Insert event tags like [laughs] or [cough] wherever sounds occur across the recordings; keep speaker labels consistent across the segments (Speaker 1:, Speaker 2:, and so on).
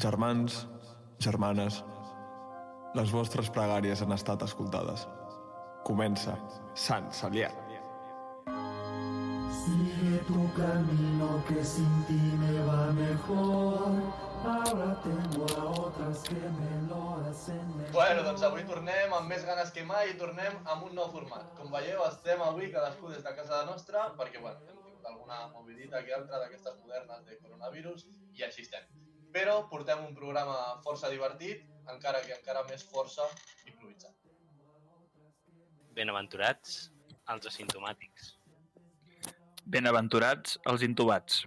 Speaker 1: Germans, germanes, les vostres pregàries han estat escoltades. Comença Sant Salià.
Speaker 2: Sigue tu camino que sin ti me va mejor. Ahora tengo a otras que me lo hacen mejor.
Speaker 3: Bueno, doncs avui tornem amb més ganes que mai i tornem amb un nou format. Com veieu, estem avui cadascú des de casa nostra perquè, bueno, hem tingut alguna movidita que altra d'aquestes modernes de coronavirus i així estem. Però portem un programa força divertit, encara que encara més força improvisat.
Speaker 4: Benaventurats els asimptomàtics.
Speaker 5: Benaventurats els intubats.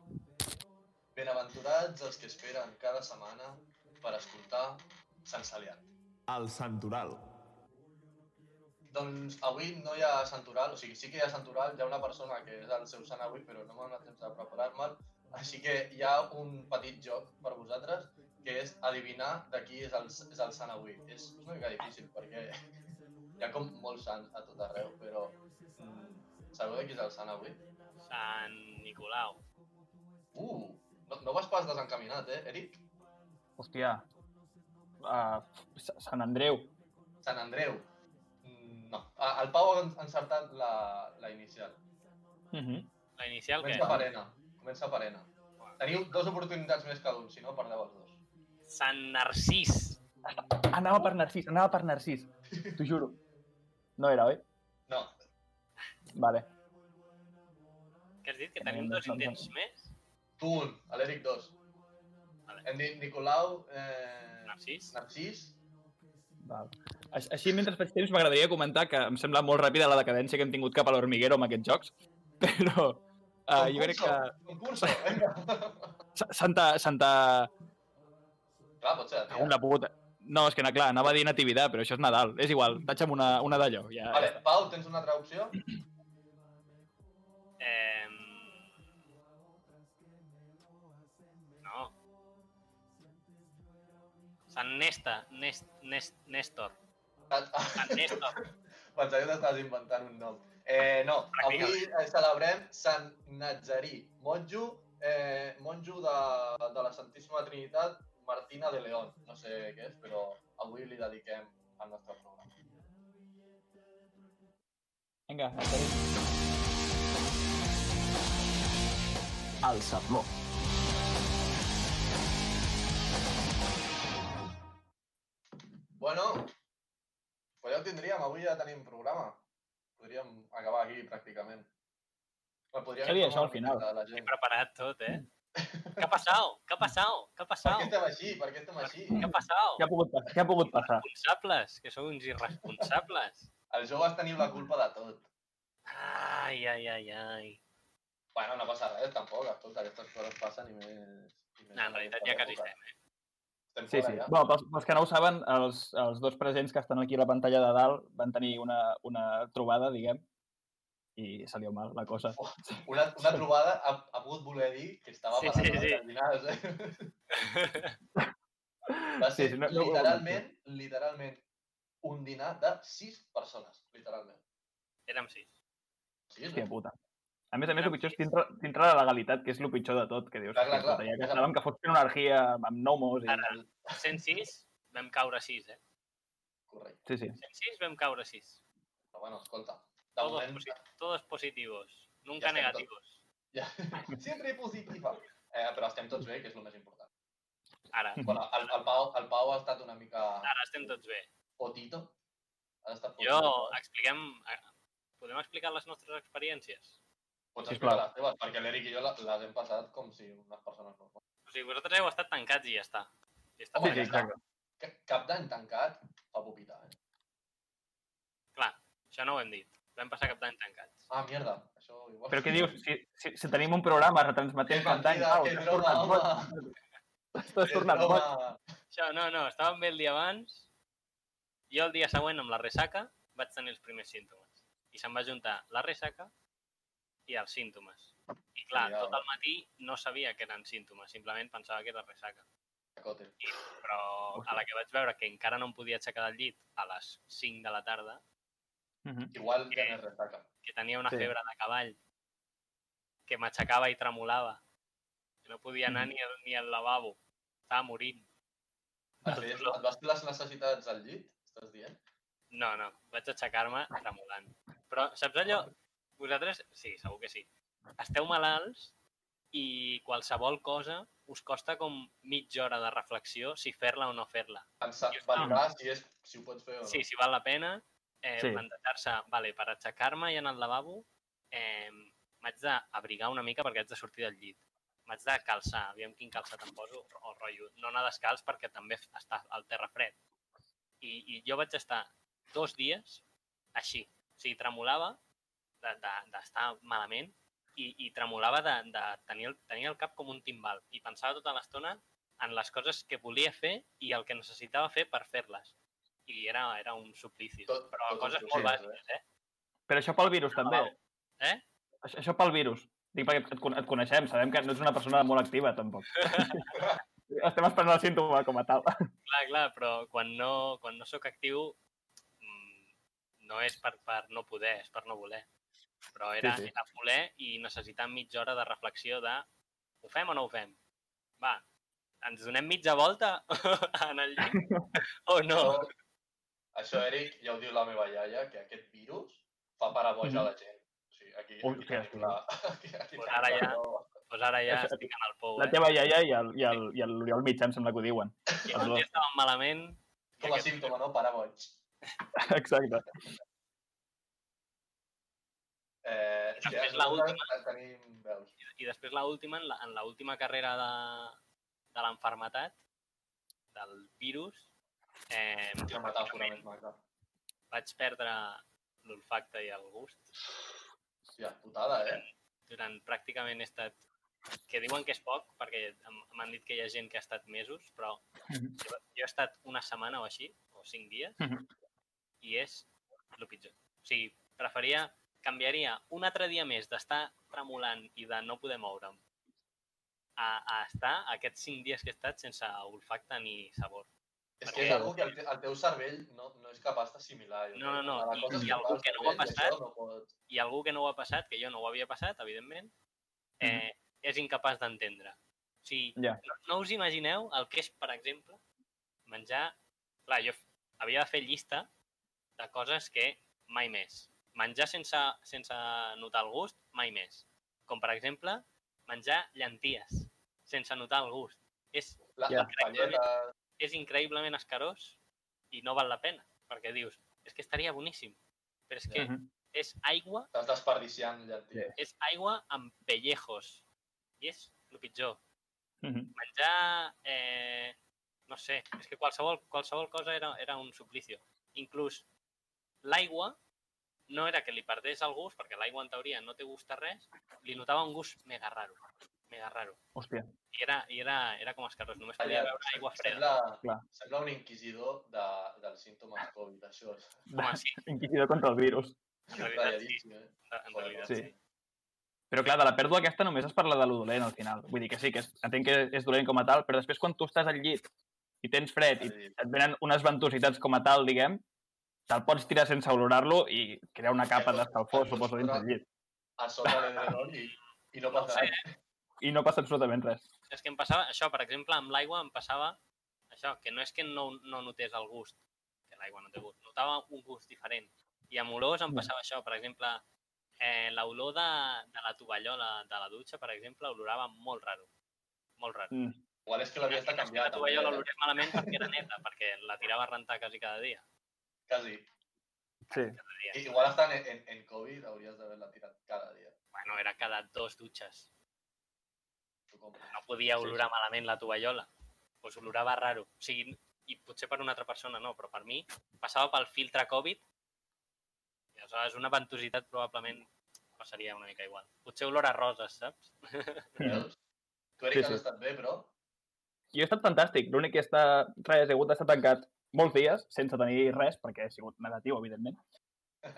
Speaker 3: Benaventurats els que esperen cada setmana per escoltar Sant Saliat.
Speaker 1: El Santoral.
Speaker 3: Doncs avui no hi ha Sant Oral, o sigui, sí que hi ha Sant Oral, hi ha una persona que és el seu sant avui, però no m'ha donat temps de preparar-me'l, així que hi ha un petit joc per vosaltres, que és adivinar de qui és el, és el sant avui. És una mica difícil, perquè hi ha com molts sants a tot arreu, però mm, sabeu de qui és el sant avui?
Speaker 4: Sant Nicolau.
Speaker 3: Uh, no, no vas pas desencaminat, eh, Eric?
Speaker 6: Hòstia.
Speaker 5: Ah,
Speaker 6: Uh, Sant Andreu.
Speaker 3: Sant Andreu. Mm, No, Ah, el Pau ha encertat la, la inicial.
Speaker 6: Uh -huh.
Speaker 4: La inicial què?
Speaker 3: Comença per N. Comença per N. Teniu dues oportunitats més cada un, si no, perdeu els dos.
Speaker 4: Sant Narcís.
Speaker 6: Anava per Narcís, anava per Narcís. T'ho juro. No era, oi?
Speaker 3: No,
Speaker 6: Vale.
Speaker 4: Què has dit? Que
Speaker 6: Eh,
Speaker 4: tenim
Speaker 6: no
Speaker 4: dos
Speaker 6: són
Speaker 4: intents més?
Speaker 3: Tu un, a l'Eric dos.
Speaker 4: Vale.
Speaker 3: Hem dit Nicolau, eh,
Speaker 4: Narcís.
Speaker 3: Narcís.
Speaker 6: Val.
Speaker 5: Aix- Així, mentre faig temps, m'agradaria comentar que em sembla molt ràpida la decadència que hem tingut cap a l'Hormiguero amb aquests jocs, [laughs] però uh, jo crec que
Speaker 3: Concurso, [laughs] vinga.
Speaker 5: Sa- Santa... Santa...
Speaker 3: Clar, pot ser, tio.
Speaker 5: Algun l'ha pogut... No, és que, na- clar, anava a dir natividad, però això és Nadal. És igual, tatxa'm una, una d'allò. Ja,
Speaker 3: Vale, Pau, tens una altra opció? [laughs]
Speaker 4: Eh... No. Sant Nesta. Nest, Nest, Néstor. Sant Néstor.
Speaker 3: Pensaria que t'estaves inventant un nom. Eh, no, avui eh, celebrem Sant Nazarí, monjo, eh, monjo de, de la Santíssima Trinitat, Martina de León. No sé què és, però avui li dediquem al nostre programa.
Speaker 6: Vinga, Narcís.
Speaker 1: El Sermó.
Speaker 3: Bueno, pues ja ho tindríem, avui ja tenim programa. Podríem acabar aquí, pràcticament. Bueno, podríem
Speaker 6: Seria això,
Speaker 3: informar
Speaker 6: al final.
Speaker 3: una mica de La gent.
Speaker 4: [laughs] Preparat tot, eh? Què ha passat? Què ha passat? Què ha
Speaker 3: Per què
Speaker 4: passat?
Speaker 3: estem així? Per què estem així?
Speaker 4: Què ha passat?
Speaker 6: Què ha pogut passar? Què ha pogut passar?
Speaker 4: Irresponsables, que sou uns irresponsables.
Speaker 3: Els joves teniu la culpa de tot.
Speaker 4: Ai, ai, ai, ai.
Speaker 3: Bueno, no passa res, tampoc. Escolta, aquestes coses passen i més... I més
Speaker 4: No, en realitat ja quasi estem, eh?
Speaker 3: Estem
Speaker 6: Sí,
Speaker 3: fora,
Speaker 6: sí.
Speaker 3: sí. Ja.
Speaker 6: Bueno, pels, pels que no ho saben, els, els dos presents que estan aquí a la pantalla de dalt van tenir una, una trobada, diguem, i salió mal la cosa.
Speaker 3: Una, una trobada ha, ha pogut voler dir que estava
Speaker 4: Sí,
Speaker 3: parlant
Speaker 4: sí, sí.
Speaker 3: de cardinals, eh? [laughs] Va ser
Speaker 5: Sí, sí,
Speaker 3: no,
Speaker 5: no- no ho
Speaker 3: no, literalment, literalment, un dinar de sis persones, literalment.
Speaker 4: Érem sis.
Speaker 3: Sí,
Speaker 6: Hòstia puta. A més a més, el pitjor és dintre, dintre de la legalitat, que és el pitjor de tot, que dius,
Speaker 3: Clar, clar, clar.
Speaker 6: "Puta, ja que sabem que fos una anarquia amb gnomos i...
Speaker 4: Ara, 106, vam caure 6, eh?
Speaker 3: correcte.
Speaker 6: Sí, sí.
Speaker 4: 106, vam caure 6.
Speaker 3: Però bueno, escolta, de
Speaker 4: Todos,
Speaker 3: moment...
Speaker 4: posi- todos positivos, nunca
Speaker 3: Ja estem
Speaker 4: negativos.
Speaker 6: [laughs]
Speaker 3: Ja, sempre positiva. Eh, però estem tots bé, que és el més important.
Speaker 4: Ara,
Speaker 3: Bueno, el, el, Pau, el Pau ha estat una mica
Speaker 4: ara estem tots bé.
Speaker 3: potito. Ha estat potito.
Speaker 4: Jo, expliquem... eh, Podem explicar les nostres experiències?
Speaker 3: Pots
Speaker 6: Sisplau.
Speaker 3: explicar les teves, perquè l'Eric i jo la- les hem passat com si unes persones normals.
Speaker 4: O sigui, vosaltres heu estat tancats i ja està. I està
Speaker 3: Home,
Speaker 4: tancat.
Speaker 3: ja està. Ca- Cap d'any tancat fa pupitar, eh?
Speaker 4: Això no ho hem dit. Vam passar cap d'any tancats.
Speaker 3: Ah, mierda, això igual...
Speaker 6: Però què dius?
Speaker 3: [laughs]
Speaker 6: Si, si, si tenim un programa
Speaker 3: Que
Speaker 6: retransmetent cap d'any,
Speaker 3: mentida,
Speaker 6: Pau,
Speaker 3: que
Speaker 6: t'has
Speaker 3: broma,
Speaker 6: tornat bot.
Speaker 3: home!
Speaker 6: T'has
Speaker 3: Que
Speaker 6: tornat bot.
Speaker 3: broma!
Speaker 4: Això, no, no, estàvem bé el dia abans. Jo el dia següent, amb la ressaca, vaig tenir els primers símptomes. I se'm va juntar la ressaca i els símptomes. I clar,
Speaker 3: Ja.
Speaker 4: tot el matí no sabia que eren símptomes, simplement pensava que era ressaca.
Speaker 3: Cacote.
Speaker 4: però a la que vaig veure que encara no em podia aixecar del llit a les 5 de la tarda,
Speaker 6: Mhm.
Speaker 3: Igual ja no és ressaca.
Speaker 4: que tenia una
Speaker 6: Sí.
Speaker 4: sí. febre de cavall, que m'aixecava i tremolava, que no podia anar ni, al, ni al lavabo, estava morint. Ah,
Speaker 3: Et, veies, et vas fer les necessitats al llit? Estàs dient?
Speaker 4: No, no, vaig aixecar-me tremolant. Però saps allò? Vosaltres, sí, segur que sí. Esteu malalts i qualsevol cosa us costa com mitja hora de reflexió si fer-la o no fer-la.
Speaker 3: Pensar,
Speaker 4: Jo estava-
Speaker 3: valorar si, és, si ho pots fer o no.
Speaker 4: Sí, si val la pena, eh,
Speaker 5: Sí.
Speaker 4: sí. plantejar-se, vale, per aixecar-me i anar al lavabo, eh, m'haig d'abrigar una mica perquè haig de sortir del llit. M'haig de calçar, aviam quin calçat em poso, o rotllo, no anar descalç perquè també f- està al terra fred. I, I jo vaig estar dos dies així. O sigui, tremolava de- de- d'estar de, malament i, i tremolava de, de tenir, el, tenir el cap com un timbal i pensava tota l'estona en les coses que volia fer i el que necessitava fer per fer-les. I era, era un suplici.
Speaker 3: Tot-
Speaker 4: Però
Speaker 3: tot un
Speaker 4: coses molt
Speaker 3: procés,
Speaker 4: bàsiques, eh?
Speaker 5: Però això pel virus, també.
Speaker 4: Eh?
Speaker 5: Això, això pel virus. Dic perquè et, con- et coneixem, sabem que no ets una persona molt activa,
Speaker 4: [laughs]
Speaker 5: tampoc. Estem esperant el símptoma com a tal.
Speaker 4: Clar, clar, però quan no, quan no sóc actiu mm, no és per, per no poder, és per no voler. Però era,
Speaker 5: Sí,
Speaker 4: sí,
Speaker 5: sí.
Speaker 4: sí. era voler i necessitar mitja hora de reflexió de ho fem o no ho fem? Va, ens donem mitja volta [laughs] en el llit o no?
Speaker 3: Això, això, Eric, ja ho diu la meva iaia, que aquest virus fa parar boja a
Speaker 5: Mm-hmm.
Speaker 3: la gent. O sigui, aquí, aquí
Speaker 5: Hòstia,
Speaker 3: tenim la... [laughs] Aquí, aquí
Speaker 4: Pues
Speaker 3: tenim
Speaker 4: ara
Speaker 3: la
Speaker 4: ja-
Speaker 3: raó.
Speaker 4: Doncs ara ja
Speaker 5: Això-
Speaker 4: estic en el pou,
Speaker 5: La
Speaker 4: eh?
Speaker 5: teva iaia i el- i el- i el- l'Oriol Mitjà, em sembla que ho diuen. [laughs]
Speaker 4: Que
Speaker 5: els
Speaker 4: un
Speaker 5: dos.
Speaker 4: dia estàvem malament... i
Speaker 3: Com a
Speaker 4: aquest-
Speaker 3: símptoma, no? Parar boig.
Speaker 5: Exacte.
Speaker 3: Eh, és que
Speaker 4: Després
Speaker 3: ara
Speaker 4: l'última.
Speaker 3: Tenim veus.
Speaker 4: I després la última, en la- en l'última carrera de, de l'enfermetat, del virus, eh,
Speaker 3: Quina metàfora més maca.
Speaker 4: vaig perdre l'olfacte i el gust.
Speaker 3: Hòstia, putada, eh?
Speaker 4: Durant pràcticament he estat... Que diuen que és poc, perquè em- m'han dit que hi ha gent que ha estat mesos, però jo jo he estat una setmana o així, o cinc dies,
Speaker 5: Mhm.
Speaker 4: i és el pitjor. O sigui, preferia... Canviaria un altre dia més d'estar tremolant i de no poder moure'm a, a estar aquests cinc dies que he estat sense olfacte ni sabor.
Speaker 3: És
Speaker 4: Perquè-
Speaker 3: que és algo que el, te- el teu cervell no, no és capaç d'assimilar. jo
Speaker 4: No,
Speaker 3: crec.
Speaker 4: no, no,
Speaker 3: Cada
Speaker 4: i-
Speaker 3: cosa
Speaker 4: i
Speaker 3: fa
Speaker 4: algú
Speaker 3: el
Speaker 4: que no ho ha
Speaker 3: cervell, i
Speaker 4: passat-
Speaker 3: això No pot...
Speaker 4: i algú que no ho ha passat, que jo no ho havia passat, evidentment, eh, és incapaç d'entendre. O sigui,
Speaker 5: Ja.
Speaker 4: no, no us imagineu el que és, per exemple, menjar... Clar, jo f- havia de fer llista de coses que mai més. Menjar sense, sense notar el gust, mai més. Com, per exemple, menjar llenties sense notar el gust. És,
Speaker 3: La,
Speaker 5: Ja.
Speaker 3: ja, les palletes...
Speaker 4: és increïblement escarós i no val la pena, perquè dius, és que estaria boníssim, però és que
Speaker 5: Mhm.
Speaker 4: és aigua
Speaker 3: Estàs desperdiciant llenties.
Speaker 4: és aigua amb pellejos. I és el pitjor.
Speaker 5: Mhm.
Speaker 4: Menjar... Eh, no sé, és que qualsevol, qualsevol cosa era, era un suplicio. Inclús l'aigua no era que li perdés el gust, perquè l'aigua en teoria no té gust a res, li notava un gust mega raro. Mega raro.
Speaker 5: Hòstia.
Speaker 4: I era, i era, era com escarrós, només
Speaker 3: Allà,
Speaker 4: podia beure aigua freda.
Speaker 3: Sembla,
Speaker 5: Clar.
Speaker 3: sembla un inquisidor de, dels símptomes Covid, això.
Speaker 4: Home, sí,
Speaker 5: [laughs] Inquisidor contra el virus.
Speaker 4: en realitat sí.
Speaker 3: Talladíssim, eh?
Speaker 4: En realitat
Speaker 5: Sí.
Speaker 4: sí.
Speaker 5: Però clar, de la pèrdua aquesta només es parla de lo dolent al final. Vull dir que sí, que és, entenc que és dolent com a tal, però després quan tu estàs al llit i tens fred i
Speaker 3: Sí.
Speaker 5: et venen unes ventositats com a tal, diguem, te'l pots tirar sense olorar-lo i crear una capa d'escalfor, suposo, dins del llit.
Speaker 3: A sota l'edredon i, i no passa res.
Speaker 5: I no passa absolutament res.
Speaker 4: és que em passava això, per exemple, amb l'aigua em passava això, que no és que no, no notés el gust, que l'aigua no té gust, notava un gust diferent. I amb olors em passava això, per exemple, eh, l'olor de, de la tovallola de la dutxa, per exemple, olorava molt raro, molt raro.
Speaker 5: Mm.
Speaker 3: Igual és que l'havies de canviar,
Speaker 4: La
Speaker 3: també.
Speaker 4: tovallola
Speaker 3: eh?
Speaker 4: olorés malament perquè era neta, perquè la tirava a rentar quasi cada dia.
Speaker 3: Quasi.
Speaker 5: Sí.
Speaker 3: I Igual estan en, en, en Covid, hauries d'haver-la tirat cada dia.
Speaker 4: Bueno, era cada dos dutxes.
Speaker 3: Tu com-
Speaker 4: No podia olorar malament la tovallola. Pues olorava raro. O sigui, i potser per una altra persona no, però per mi passava pel filtre Covid i aleshores una ventositat probablement passaria una mica igual. Potser olor a roses, saps?
Speaker 3: Veus? Tu, Eric,
Speaker 5: Sí,
Speaker 3: has
Speaker 5: sí.
Speaker 3: estat bé, però...
Speaker 5: Jo he estat fantàstic. L'únic que està... Res, he hagut d'estar tancat molts dies sense tenir res, perquè he sigut negatiu, evidentment.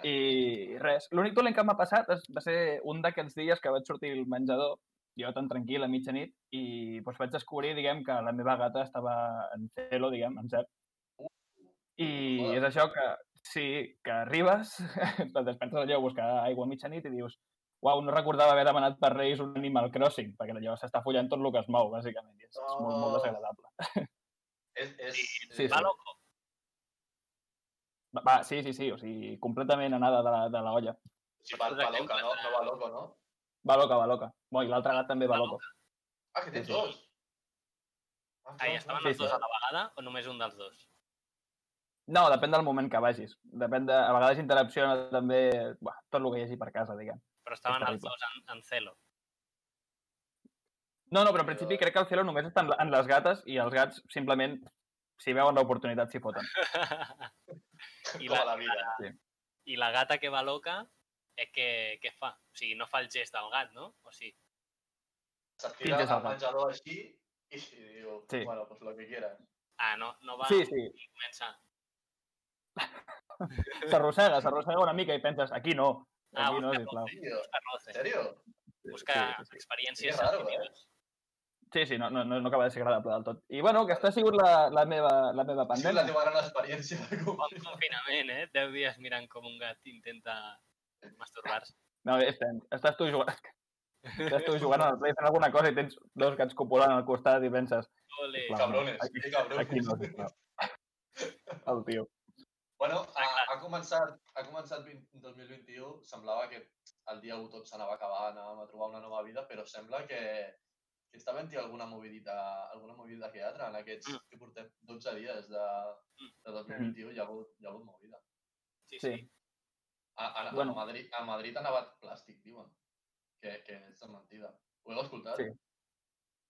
Speaker 5: I res. L'únic dolent que m'ha passat és, va ser un d'aquests dies que vaig sortir al menjador, jo tan tranquil a mitjanit, i doncs, vaig descobrir, diguem, que la meva gata estava en celo, diguem, en cep. I
Speaker 3: Joder.
Speaker 5: és això que, sí, que arribes, [laughs] te despertes allò a buscar aigua a mitjanit i dius uau, no recordava haver demanat per Reis un Animal Crossing, perquè allò s'està follant tot el que es mou, bàsicament. i És, és molt, molt
Speaker 3: Oh.
Speaker 5: desagradable.
Speaker 3: És, és,
Speaker 4: Sí,
Speaker 5: sí,
Speaker 4: Va, loco.
Speaker 5: Va, Va, sí, sí, sí, o sigui, completament anada de la, de la olla.
Speaker 3: Sí, va, va loca, no? No va loco, no?
Speaker 5: Va loca, va loca. Bueno, i l'altre gat també va
Speaker 4: Va
Speaker 5: loco.
Speaker 3: Ah, que tens
Speaker 5: Sí, sí.
Speaker 3: dos? Ah,
Speaker 4: Ahir estaven
Speaker 5: Sí,
Speaker 4: els
Speaker 5: sí.
Speaker 4: dos a la vegada o només un dels dos?
Speaker 5: No, depèn del moment que vagis. Depèn de... A vegades interacciona també buah, tot el que hi hagi per casa, diguem.
Speaker 4: Però estaven
Speaker 5: És
Speaker 4: els
Speaker 5: terrible.
Speaker 4: dos en, en
Speaker 5: [laughs]
Speaker 4: celo.
Speaker 5: No, no, però en principi crec que el cielo només està en, la- en les gates i els gats simplement, si veuen l'oportunitat, s'hi foten.
Speaker 4: I
Speaker 3: I la,
Speaker 4: la-
Speaker 3: a la vida.
Speaker 4: I la gata que va loca, eh, què, què fa? O sigui, no fa el gest del gat, no? O sí.
Speaker 3: S'estira
Speaker 5: Fins a
Speaker 3: al menjador així i diu,
Speaker 5: Sí.
Speaker 3: bueno, pues lo que quieras.
Speaker 4: Ah, no, no va
Speaker 5: Sí, sí,
Speaker 4: i comença.
Speaker 5: s'arrossega, s'arrossega una mica i penses, aquí no,
Speaker 4: Ah,
Speaker 5: aquí no,
Speaker 4: busca
Speaker 5: sisplau.
Speaker 3: Tio,
Speaker 4: busca roce,
Speaker 3: ¿En serio?
Speaker 4: busca
Speaker 5: Sí, sí.
Speaker 4: experiències
Speaker 3: Que raro, eh?
Speaker 4: sensitives.
Speaker 5: Sí, sí, no, no, no no acaba de ser agradable del tot. I bueno, aquesta ha sigut la, la, meva, la meva
Speaker 3: Sí, la
Speaker 5: pandèmia.
Speaker 3: teva gran [laughs] experiència.
Speaker 4: Bon confinament, eh? Deu dies mirant com un gat intenta masturbar-se.
Speaker 5: No, és tens. Estàs tu jugant... Estàs tu jugant al Play fent alguna cosa i tens dos gats copulant al costat i penses,
Speaker 4: Ole.
Speaker 5: Clar.
Speaker 3: Cabrones,
Speaker 5: Aquí-
Speaker 3: que cabrones.
Speaker 5: aquí no, sisplau. El tio.
Speaker 3: Bueno, ha, ha, començat, ha començat 20, 2021, semblava que el dia 1 tot s'anava acabant, anàvem a trobar una nova vida, però sembla que, que està havent alguna movidita, alguna movida que altra en aquests
Speaker 4: Mm.
Speaker 3: que portem 12 dies de, de 2021, hi ha hagut, hi ha hagut movida.
Speaker 4: Sí, sí.
Speaker 5: Sí.
Speaker 3: A, a,
Speaker 5: Bueno.
Speaker 3: a, Madrid, a Madrid han nevat plàstic, diuen, que, que és de mentida. Ho heu escoltat?
Speaker 5: Sí.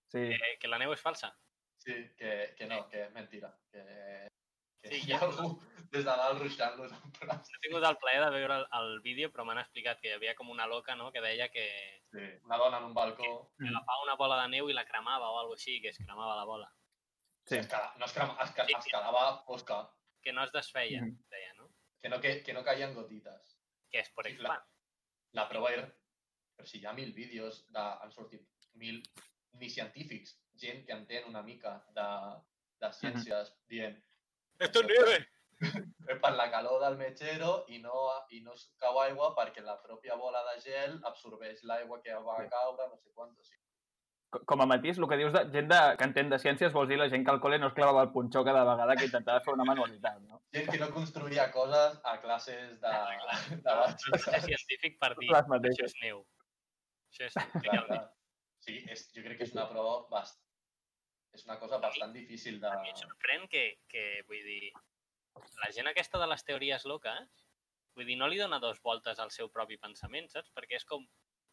Speaker 5: Sí.
Speaker 4: Eh, que la neu és falsa.
Speaker 3: Sí, que, que no, que és mentira, que, que
Speaker 4: Sí,
Speaker 3: hi ha
Speaker 4: jo-
Speaker 3: algú des de dalt ruixant-los amb plàstic.
Speaker 4: He tingut el plaer de veure el, el vídeo, però m'han explicat que hi havia com una loca, no?, que deia que
Speaker 3: Sí. Una dona en un balcó...
Speaker 4: agafava una bola de neu i la cremava o alguna així, que es cremava la bola.
Speaker 5: Sí.
Speaker 3: Es queda- no es, crema, es, que-
Speaker 4: Sí,
Speaker 3: es
Speaker 4: sí.
Speaker 3: quedava fosca.
Speaker 4: Que no es desfeia,
Speaker 5: Mm.
Speaker 4: deia, no?
Speaker 3: Que no, que, que no caien gotites.
Speaker 4: Que és per
Speaker 3: Sí, clar.
Speaker 4: expand.
Speaker 3: La prova era... Però si hi ha mil vídeos, de, han sortit mil... Ni científics, gent que entén una mica de, de ciències, dient Esto es [laughs] nieve. és per la calor del metgero i no, i no es cau aigua perquè la pròpia bola de gel absorbeix l'aigua que va
Speaker 5: Sí.
Speaker 3: caure, no sé quant. O sigui,
Speaker 5: Co- Com a matís, el que dius de gent de, que entén de ciències vols dir la gent que al col·le no es clavava el punxó cada vegada que intentava fer una manualitat, no?
Speaker 3: gent que no construïa coses a classes [laughs] de... de
Speaker 4: No sé científic per dir
Speaker 5: Les
Speaker 4: això
Speaker 5: mateixes.
Speaker 4: és neu. Això és neu.
Speaker 3: Clar, clar. Sí, és, jo crec que és una prova bast... és una cosa bastant difícil de...
Speaker 4: A mi em sorprèn que, que, vull dir, la gent aquesta de les teories loques, vull dir, no li dona dos voltes al seu propi pensament, saps? Perquè és com,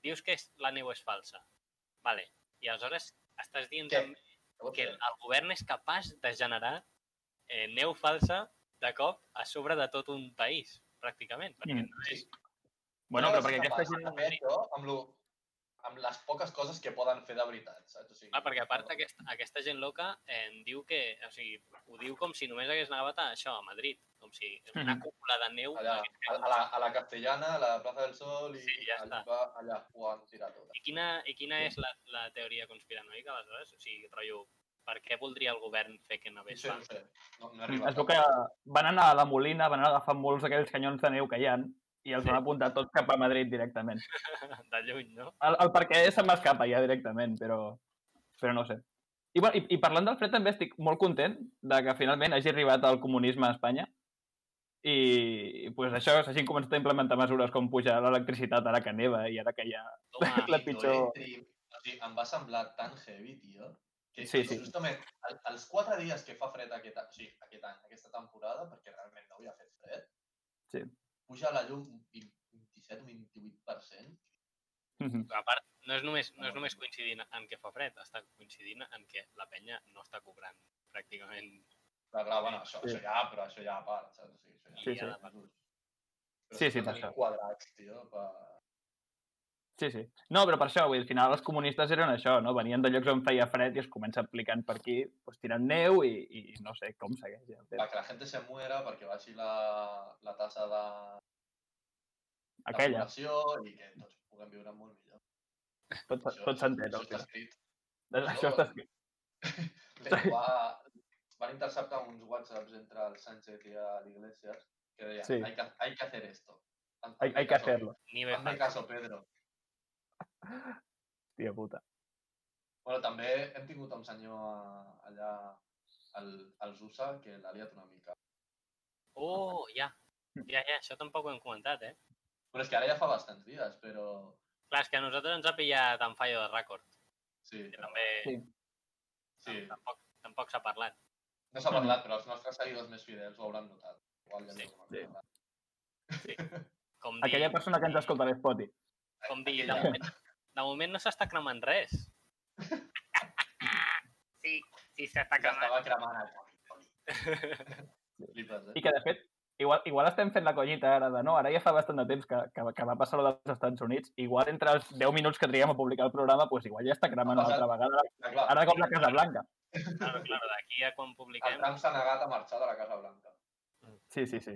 Speaker 4: dius que és, la neu és falsa. Vale. I aleshores estàs dient
Speaker 3: Què?
Speaker 4: també que el govern és capaç de generar eh, neu falsa de cop a sobre de tot un país, pràcticament. Perquè
Speaker 5: Mm.
Speaker 4: no és...
Speaker 5: Bueno, però
Speaker 3: No
Speaker 5: perquè
Speaker 3: sé
Speaker 5: aquesta
Speaker 3: capaç
Speaker 5: gent...
Speaker 3: de fer això amb, lo... amb les poques coses que poden fer de veritat, saps? O sigui,
Speaker 4: Clar,
Speaker 5: Ah,
Speaker 4: perquè a part aquesta, aquesta gent loca eh, em diu que, o sigui, ho diu com si només hagués nevat a això, a Madrid, com si una
Speaker 5: Mhm.
Speaker 4: cúpula de neu
Speaker 3: Allà,
Speaker 4: hagués
Speaker 3: a, a, la, a la castellana, a la plaça del Sol i
Speaker 4: Sí, ja
Speaker 3: allà,
Speaker 4: està.
Speaker 3: va- allà tota. ho han tirat tot.
Speaker 4: I quina, i quina és la, la teoria conspiranoica, aleshores? O sigui, rotllo, per què voldria el govern fer que no
Speaker 3: No
Speaker 4: anés
Speaker 3: sé, no
Speaker 4: falsa?
Speaker 3: sé. No, no he
Speaker 5: Mm, Es
Speaker 3: arribat.
Speaker 5: veu que van anar a la Molina, van anar a agafar molts d'aquells canyons de neu que hi ha i els
Speaker 4: Sí.
Speaker 5: van apuntar tots cap a Madrid directament.
Speaker 4: [laughs] De lluny, no?
Speaker 5: El, el perquè se m'escapa ja directament, però, però no ho sé. I, bueno, i, I parlant del fred també estic molt content de que finalment hagi arribat el comunisme a Espanya i, i pues, això s'hagin començat a implementar mesures com pujar l'electricitat ara que neva i ara que ja...
Speaker 4: Toma,
Speaker 5: La
Speaker 3: Tio,
Speaker 5: pitjor-
Speaker 3: eh, tio. O sigui, em va semblar tan heavy, tio, que
Speaker 5: Sí,
Speaker 3: sí,
Speaker 5: sí.
Speaker 3: sí. justament el, els quatre dies que fa fred aquest, a- o sigui, aquest any, aquesta temporada, perquè realment no havia fet fred,
Speaker 5: Sí.
Speaker 3: puja la llum un 27-28%.
Speaker 4: a part, no és, només, no és només coincidint en que fa fred, està coincidint en que la penya no està cobrant pràcticament.
Speaker 3: Clar, clar, bueno, això,
Speaker 5: Sí.
Speaker 3: això ja, però això ja a part, saps? O sigui, això ja
Speaker 5: Sí,
Speaker 3: ja
Speaker 5: sí.
Speaker 3: de mesos. Però
Speaker 5: Sí,
Speaker 3: s'ha
Speaker 5: sí,
Speaker 3: de
Speaker 5: per
Speaker 3: tenir
Speaker 5: això.
Speaker 3: quadrats, tio, per...
Speaker 5: Sí, sí. No, però per això, vull dir, al final els comunistes eren això, no? Venien de llocs on feia fred i es comença aplicant per aquí, pues, tirant neu i, i no sé com segueix. Ja. el temps.
Speaker 3: Per que la gent se muera, perquè baixi la, la tassa de, de
Speaker 5: Aquella,
Speaker 3: població i que tots puguem viure molt millor.
Speaker 5: tot,
Speaker 3: Això-
Speaker 5: tot s'entén.
Speaker 3: Això
Speaker 5: al
Speaker 3: està
Speaker 5: final.
Speaker 3: escrit.
Speaker 5: Això està escrit.
Speaker 3: Però va, van interceptar uns whatsapps entre el Sánchez i el Iglesias que deien,
Speaker 5: Sí.
Speaker 3: hay, que, hay que hacer esto.
Speaker 5: Hay, hay que hacerlo,
Speaker 4: Ni bé
Speaker 3: Hazme
Speaker 4: fa.
Speaker 3: caso, Pedro.
Speaker 5: tia puta.
Speaker 3: Bueno, també hem tingut un senyor a- eh, allà el, el Zusa, que l'ha liat una mica.
Speaker 4: Oh, ja. Ja, ja, això tampoc ho hem comentat, eh?
Speaker 3: Però és que ara ja fa bastants dies, però...
Speaker 4: Clar, és que a nosaltres ens ha pillat en fallo de rècord,
Speaker 3: Sí,
Speaker 4: que també
Speaker 5: Sí.
Speaker 3: sí.
Speaker 4: tampoc, tampoc s'ha parlat.
Speaker 3: No s'ha parlat, però els nostres seguidors més fidels ho hauran notat. Igual ja no
Speaker 4: Sí,
Speaker 3: ho
Speaker 5: sí.
Speaker 3: hauran notat.
Speaker 4: Com dir,
Speaker 5: Aquella persona que ens escolta a l'Spoti.
Speaker 3: Eh,
Speaker 4: com dir de, moment, de moment no s'està cremant res. Sí, sí s'està
Speaker 3: Ja estava cremant el Toni, Toni.
Speaker 4: [laughs]
Speaker 3: Flipes, eh?
Speaker 5: I que, de fet, igual, igual estem fent la collita ara de no, ara ja fa bastant de temps que, que, que va passar allò dels Estats Units, igual entre els 10 minuts que triguem a publicar el programa, doncs igual ja està cremant
Speaker 3: Ha
Speaker 5: una altra vegada,
Speaker 3: Ah, clar,
Speaker 5: ara com la Casa Blanca.
Speaker 4: Claro, claro, d'aquí a quan
Speaker 3: el
Speaker 4: publiquem...
Speaker 3: Trump s'ha negat a marxar de la Casa Blanca,
Speaker 5: Sí, sí, sí.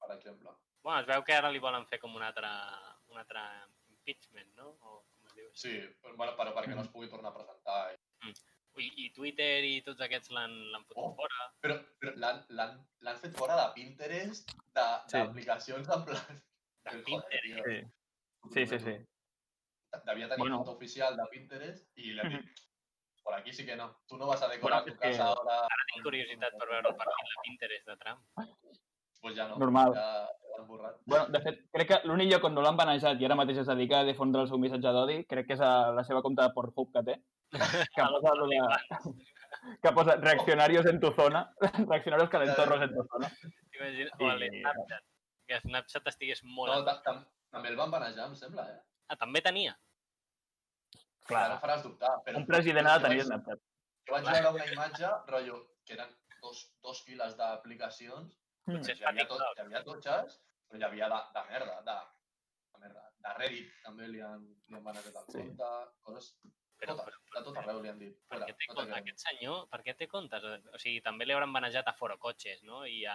Speaker 3: per exemple.
Speaker 4: Bueno, es veu que ara li volen fer com un altre, un altre impeachment, no? O com es diu això?
Speaker 3: Sí, però, bueno, però perquè
Speaker 5: Mm.
Speaker 3: no es pugui tornar a presentar. eh?
Speaker 4: I, i Twitter i tots aquests l'han l'han fotut
Speaker 3: Oh.
Speaker 4: fora.
Speaker 3: Però, però l'han- l'han l'han fet fora de Pinterest, de-
Speaker 5: Sí.
Speaker 3: d'aplicacions en plan...
Speaker 4: De
Speaker 3: Joder,
Speaker 4: Pinterest.
Speaker 3: tio.
Speaker 5: Sí. Sí, sí, sí.
Speaker 3: Devia tenir
Speaker 5: Bueno.
Speaker 3: bueno. foto oficial de Pinterest i l'hem dit, por aquí sí que no. Tu no vas a decorar
Speaker 5: Bueno,
Speaker 3: tu casa
Speaker 5: eh,
Speaker 3: ara...
Speaker 4: Ara tinc curiositat per veure el partit de Pinterest de Trump.
Speaker 3: Pues ja no.
Speaker 5: Normal.
Speaker 3: Ja l'han borrat.
Speaker 5: Bueno, de fet, crec que l'únic lloc on no l'han banejat i ara mateix es dedica a difondre el seu missatge d'odi, crec que és a la seva compte de Pornhub que té, que posa, lo de... que posa reaccionarios en tu zona, [laughs] reaccionarios calentorros en tu zona.
Speaker 4: Imagina, o el
Speaker 5: Sí.
Speaker 4: Snapchat. Que Snapchat estigués molt...
Speaker 3: No,
Speaker 4: No,
Speaker 3: ta- tam també el van banejar, em sembla, eh?
Speaker 4: ah, també tenia.
Speaker 5: Clar.
Speaker 3: Ara em faràs dubtar, però...
Speaker 5: Un president ha de tenir
Speaker 3: Jo vaig-
Speaker 5: Snapchat.
Speaker 3: Jo vaig veure una imatge, rotllo, que eren dos, dos files d'aplicacions,
Speaker 4: Potser és
Speaker 3: hi havia,
Speaker 4: petit,
Speaker 3: tot, hi havia totxes, però hi havia de, de merda, de, de merda. De Reddit també li han, li han banat el
Speaker 5: Sí.
Speaker 3: compte, coses...
Speaker 4: però,
Speaker 3: tota-
Speaker 4: però,
Speaker 3: De tot arreu li han dit.
Speaker 4: per
Speaker 3: "Fuera,
Speaker 4: què té
Speaker 3: no
Speaker 4: compte,
Speaker 3: t'agrada".
Speaker 4: aquest senyor, per què té comptes? O sigui, també li hauran manejat a Foro Cotxes, no? I a...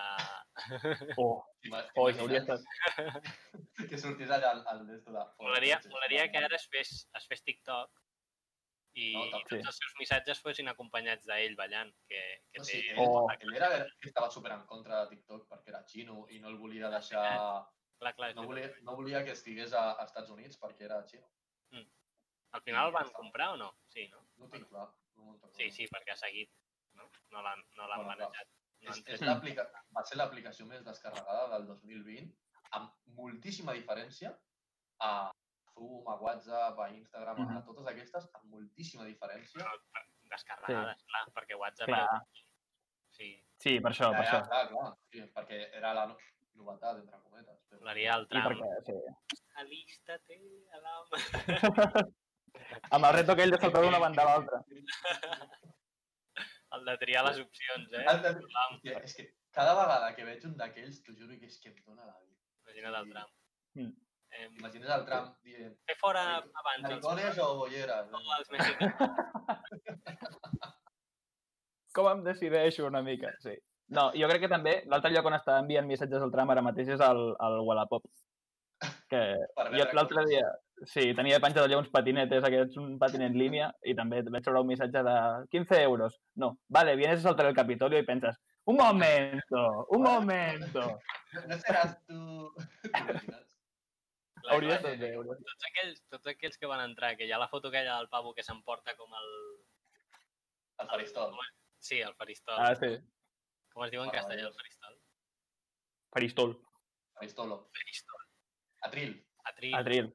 Speaker 5: Oh,
Speaker 3: Ima-
Speaker 5: oh,
Speaker 3: imagina't
Speaker 5: hauria estat...
Speaker 3: [laughs] Que sortís allà al, al d'esto de...
Speaker 4: Molaria, molaria que ara es fes, es fes TikTok i,
Speaker 3: No,
Speaker 4: i
Speaker 3: també.
Speaker 4: tots els seus missatges fossin acompanyats d'ell ballant, que, que
Speaker 3: No,
Speaker 4: té...
Speaker 3: sí, eh, ell,
Speaker 5: Oh.
Speaker 3: ell era que estava super en contra de TikTok perquè era xino i no el volia deixar...
Speaker 4: Clar, clar, és
Speaker 3: No
Speaker 4: veritat.
Speaker 3: volia, no volia que estigués a, a Estats Units perquè era xino.
Speaker 4: Al final el van comprar o no? Sí, no?
Speaker 3: No ho tinc clar. No me'n recordo.
Speaker 4: Sí, sí, perquè ha seguit. No, no l'han no l'han
Speaker 3: Bueno, clar.
Speaker 4: manejat. No
Speaker 3: És,
Speaker 4: han
Speaker 3: és
Speaker 4: tret...
Speaker 3: l'aplica- va ser l'aplicació més descarregada del 2020, amb moltíssima diferència a Zoom, a WhatsApp, a Instagram, a
Speaker 5: Mhm.
Speaker 3: totes aquestes, amb moltíssima diferència.
Speaker 4: No, descarregades, clar, perquè WhatsApp...
Speaker 5: Clar.
Speaker 4: Sí,
Speaker 5: Sí, per això,
Speaker 3: Ja,
Speaker 5: per
Speaker 3: ja,
Speaker 5: això.
Speaker 3: clar, clar, sí, perquè era la no- novetat, entre cometes. Però...
Speaker 4: molaria el
Speaker 5: I
Speaker 4: tram.
Speaker 5: perquè, sí.
Speaker 4: Alista-te a la...
Speaker 5: Amb el reto aquell de saltar d'una banda a l'altra.
Speaker 4: El de triar les opcions, eh?
Speaker 3: El de-
Speaker 4: El tram.
Speaker 3: Hòstia, és que cada vegada que veig un d'aquells, t'ho juro que és que em dóna la vida.
Speaker 4: Imagina't el tram.
Speaker 5: Mm.
Speaker 4: Em,
Speaker 3: Imagines el Trump dient,
Speaker 4: fer fora abans els,
Speaker 3: maricones o bolleres?
Speaker 4: els mexicans.
Speaker 5: Com em decideixo una mica, sí. No, jo crec que també l'altre lloc on està enviant missatges al tram ara mateix és al, al Wallapop. Que
Speaker 3: Per
Speaker 5: jo l'altre dia, sí, tenia penjat allà uns patinetes, aquests, un patinet línia, i també vaig veure un missatge de 15 euros. No, vale, vienes a saltar el Capitolio i penses, un momento, un momento.
Speaker 3: No seràs tu... [laughs] T'imagines?
Speaker 5: Hauries de 10 euros.
Speaker 4: Tots aquells, tots aquells que van entrar, que hi ha la foto aquella del pavo que s'emporta com el...
Speaker 3: El faristol.
Speaker 4: Sí, el faristol.
Speaker 5: Ah, sí,
Speaker 4: Com es diu en
Speaker 3: Meravellós.
Speaker 4: castellà, el faristol?
Speaker 5: faristol,
Speaker 3: Faristolo.
Speaker 4: Faristol.
Speaker 3: Atril.
Speaker 4: Atril.
Speaker 5: atril.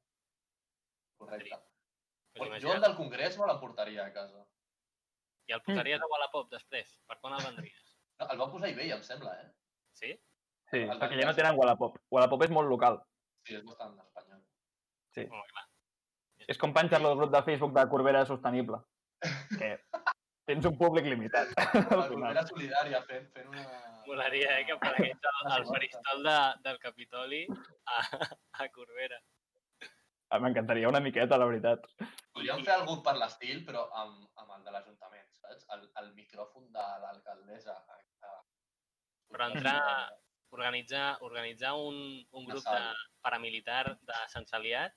Speaker 3: Correcte.
Speaker 4: Pues
Speaker 3: jo el
Speaker 4: imagina't.
Speaker 3: del Congrés me l'emportaria a casa.
Speaker 4: I el posaries a Wallapop després. Per quan el vendries?
Speaker 3: No, el van posar a eBay, em sembla, eh?
Speaker 4: Sí?
Speaker 5: Sí,
Speaker 3: El
Speaker 5: perquè ja no
Speaker 3: Barcas.
Speaker 5: tenen Wallapop. Wallapop és molt local.
Speaker 3: Sí, és bastant espanyol.
Speaker 4: Home, clar.
Speaker 5: És com penjar-lo al grup de Facebook de Corbera Sostenible. Que tens un públic limitat.
Speaker 3: La Corbera Solidària fent, fent una...
Speaker 4: Molaria, eh, que aparegués el, el faristol de, del Capitoli a, a Corbera.
Speaker 5: Ah, M'encantaria una miqueta, la veritat.
Speaker 3: Podríem fer algun per l'estil, però amb, amb el de l'Ajuntament, saps? El, el micròfon de l'alcaldessa. a-
Speaker 4: Però entrar- Organitzar, organitzar un, un grup de
Speaker 3: Sal.
Speaker 4: paramilitar de Sant Saliat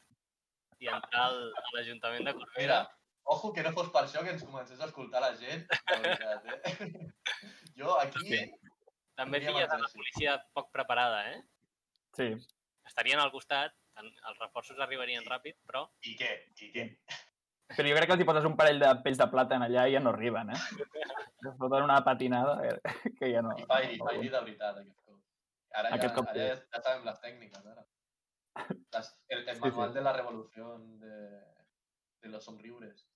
Speaker 4: i entrar al, a l'Ajuntament de Corbera.
Speaker 3: Mira, ojo que no fos per això que ens comencés a escoltar la gent. De veritat, eh? [laughs] Jo aquí...
Speaker 4: També
Speaker 3: Podríem
Speaker 4: pilles a la
Speaker 3: entrar, sí.
Speaker 4: policia poc preparada, eh?
Speaker 5: Sí.
Speaker 4: Estarien al costat, en- els reforços arribarien ràpid, però
Speaker 3: I què? I què?
Speaker 5: Però jo crec que els hi poses un parell de pells de plàtan allà i ja no arriben, [laughs] eh? Els foten una patinada eh, que ja no...
Speaker 3: I Fairy,
Speaker 5: no-
Speaker 3: Fairy de veritat, aquest cop. Ara ja,
Speaker 5: Aquest cop
Speaker 3: ara ja, ja sabem les tècniques, ara. Les, el, el manual de la revolució de, de los somriures.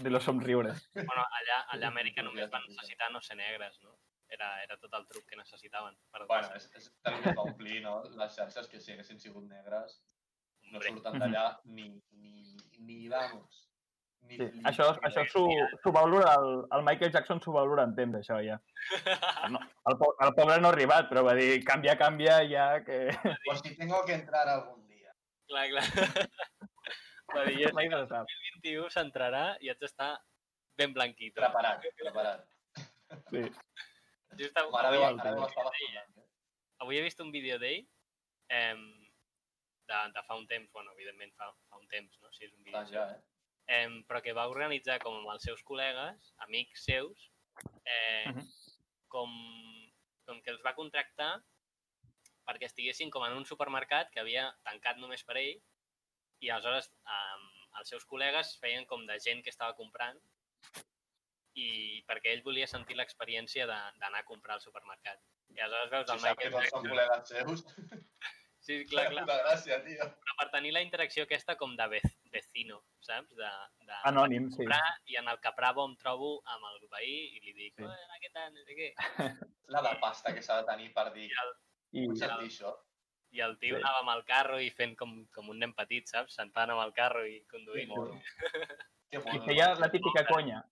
Speaker 5: De los somriures.
Speaker 4: Bueno, allà, allà a Amèrica
Speaker 3: Sí,
Speaker 4: només
Speaker 3: sí,
Speaker 4: van
Speaker 3: sí.
Speaker 4: necessitar no ser negres, no? Era, era tot el truc que necessitaven. Per
Speaker 3: Bueno, és, és el que va omplir, no? Les xarxes que si haguessin sigut negres no
Speaker 4: Hombre.
Speaker 3: surten d'allà ni, ni, ni vamos. Ni,
Speaker 5: Sí.
Speaker 3: ni-
Speaker 5: Això, això s'ho s'ho valora, el, el Michael Jackson s'ho valora en temps, això, [laughs] ja. No, el, po el pobre no ha arribat, però va dir, canvia, canvia, ja, [laughs] que...
Speaker 3: Por si tengo que entrar algún dia.
Speaker 4: clar, clar. [laughs] Va dir,
Speaker 5: Mai no se sap.
Speaker 4: 21 s'entrarà i haig d'estar ben blanquito.
Speaker 3: Preparat, preparat.
Speaker 5: Sí.
Speaker 4: Just avui,
Speaker 3: Mare meva,
Speaker 4: avui,
Speaker 3: ara deu estar
Speaker 4: avui,
Speaker 3: vacunant. eh?
Speaker 4: avui he vist un vídeo d'ell em, de, de fa un temps, bueno, evidentment fa, fa un temps, no? Si és un vídeo
Speaker 3: Tant ja, eh?
Speaker 4: eh, però que va organitzar com amb els seus col·legues, amics seus, eh,
Speaker 5: Mhm.
Speaker 4: com, com que els va contractar perquè estiguessin com en un supermercat que havia tancat només per ell i aleshores eh, els seus col·legues feien com de gent que estava comprant i perquè ell volia sentir l'experiència de- d'anar a comprar al supermercat. I aleshores veus el
Speaker 3: Si sap que
Speaker 4: Pues Michael
Speaker 3: tots són
Speaker 4: Jackson...
Speaker 3: col·legues seus,
Speaker 4: Sí,
Speaker 3: la
Speaker 4: clar,
Speaker 3: [laughs]
Speaker 4: clar.
Speaker 3: puta gràcia, tio.
Speaker 4: Però per tenir la interacció aquesta com de vec- vecino, saps? De, de,
Speaker 5: Anònim, sí.
Speaker 4: comprar i en el que pravo em trobo amb el veí i li dic,
Speaker 5: Sí.
Speaker 4: sí. hola, què tal, no sé què.
Speaker 3: La de pasta que s'ha de tenir per dir,
Speaker 4: I el,
Speaker 5: I,
Speaker 3: vull sentir això.
Speaker 4: i el tio sí.
Speaker 5: Sí.
Speaker 4: anava amb el carro i fent com, com un nen petit, saps? Sentant amb el carro i
Speaker 3: Que
Speaker 4: conduint.
Speaker 3: mono. Que
Speaker 5: I
Speaker 3: mono.
Speaker 5: feia
Speaker 3: [laughs]
Speaker 5: la típica conya.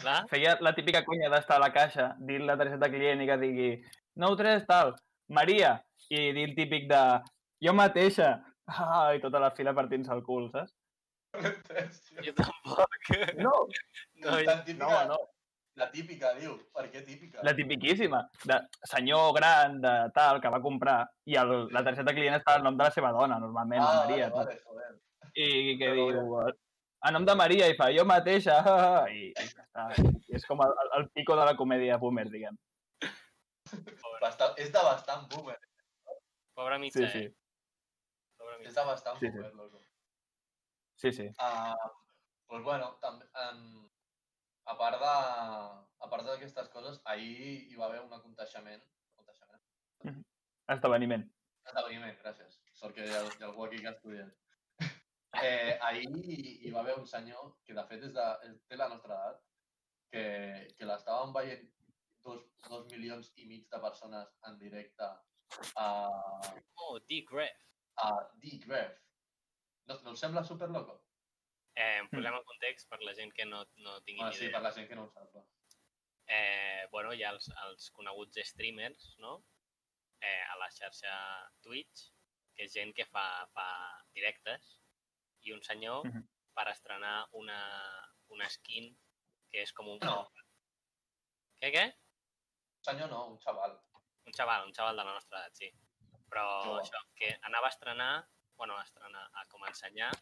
Speaker 4: Clar,
Speaker 5: Feia la típica conya d'estar a la caixa, dir la targeta client i que digui 9-3 tal, Maria, i dir el típic de jo mateixa, ah, i tota la fila partint-se el cul, saps?
Speaker 4: jo tampoc. [laughs]
Speaker 5: No,
Speaker 4: No, jo,
Speaker 3: la
Speaker 5: no,
Speaker 3: típica,
Speaker 5: no,
Speaker 3: la típica, diu. Per què típica?
Speaker 5: la tipiquíssima, de senyor gran, de tal, que va comprar, i el, la targeta client està al nom de eh, la seva dona, normalment, la
Speaker 3: ah,
Speaker 5: Maria.
Speaker 3: vale, vale, joder.
Speaker 5: tal. I que
Speaker 3: Però
Speaker 5: diu, a nom de Maria, i fa, jo mateixa, [laughs] ah, ah, i, i ja està. És com el, el pico de la comèdia boomer, diguem.
Speaker 3: Bastant, és de bastant boomer.
Speaker 4: pobre mitja,
Speaker 5: Sí, sí,
Speaker 4: eh? Pobre
Speaker 3: eh, És
Speaker 4: mitja.
Speaker 3: de bastant
Speaker 5: Sí, sí.
Speaker 3: boomer, loco.
Speaker 5: sí, sí.
Speaker 3: Ah, doncs bueno, també, um, a part de... A part d'aquestes coses, ahir hi va haver un aconteixement, aconteixement
Speaker 5: Esdeveniment.
Speaker 3: Esdeveniment, gràcies. Sort que hi ha, hi ha algú aquí que ha estudiat. [laughs] Eh, ahir hi, hi va haver un senyor que, de fet, és de, és- té la nostra edat, que, que l'estaven veient dos, dos milions i mig de persones en directe a,
Speaker 4: Oh, Dick Ref.
Speaker 3: a D-Gref. No, no us sembla superloco?
Speaker 4: Eh,
Speaker 5: Mm.
Speaker 4: posem en context per la gent que no, no tingui
Speaker 3: Bueno,
Speaker 4: ni
Speaker 3: sí,
Speaker 4: idea.
Speaker 3: per la gent que no ho sap. va.
Speaker 4: eh, bueno, hi ha els, els coneguts streamers, no? Eh, a la xarxa Twitch, que és gent que fa, fa directes, i un senyor
Speaker 5: Mhm.
Speaker 4: per estrenar una, una skin que és com un...
Speaker 3: No.
Speaker 4: Què, què?
Speaker 3: Un senyor no, un xaval.
Speaker 4: Un xaval, un xaval de la nostra edat, sí. Però
Speaker 3: Jove.
Speaker 4: això, que anava a estrenar, bueno, a estrenar, a com a ensenyar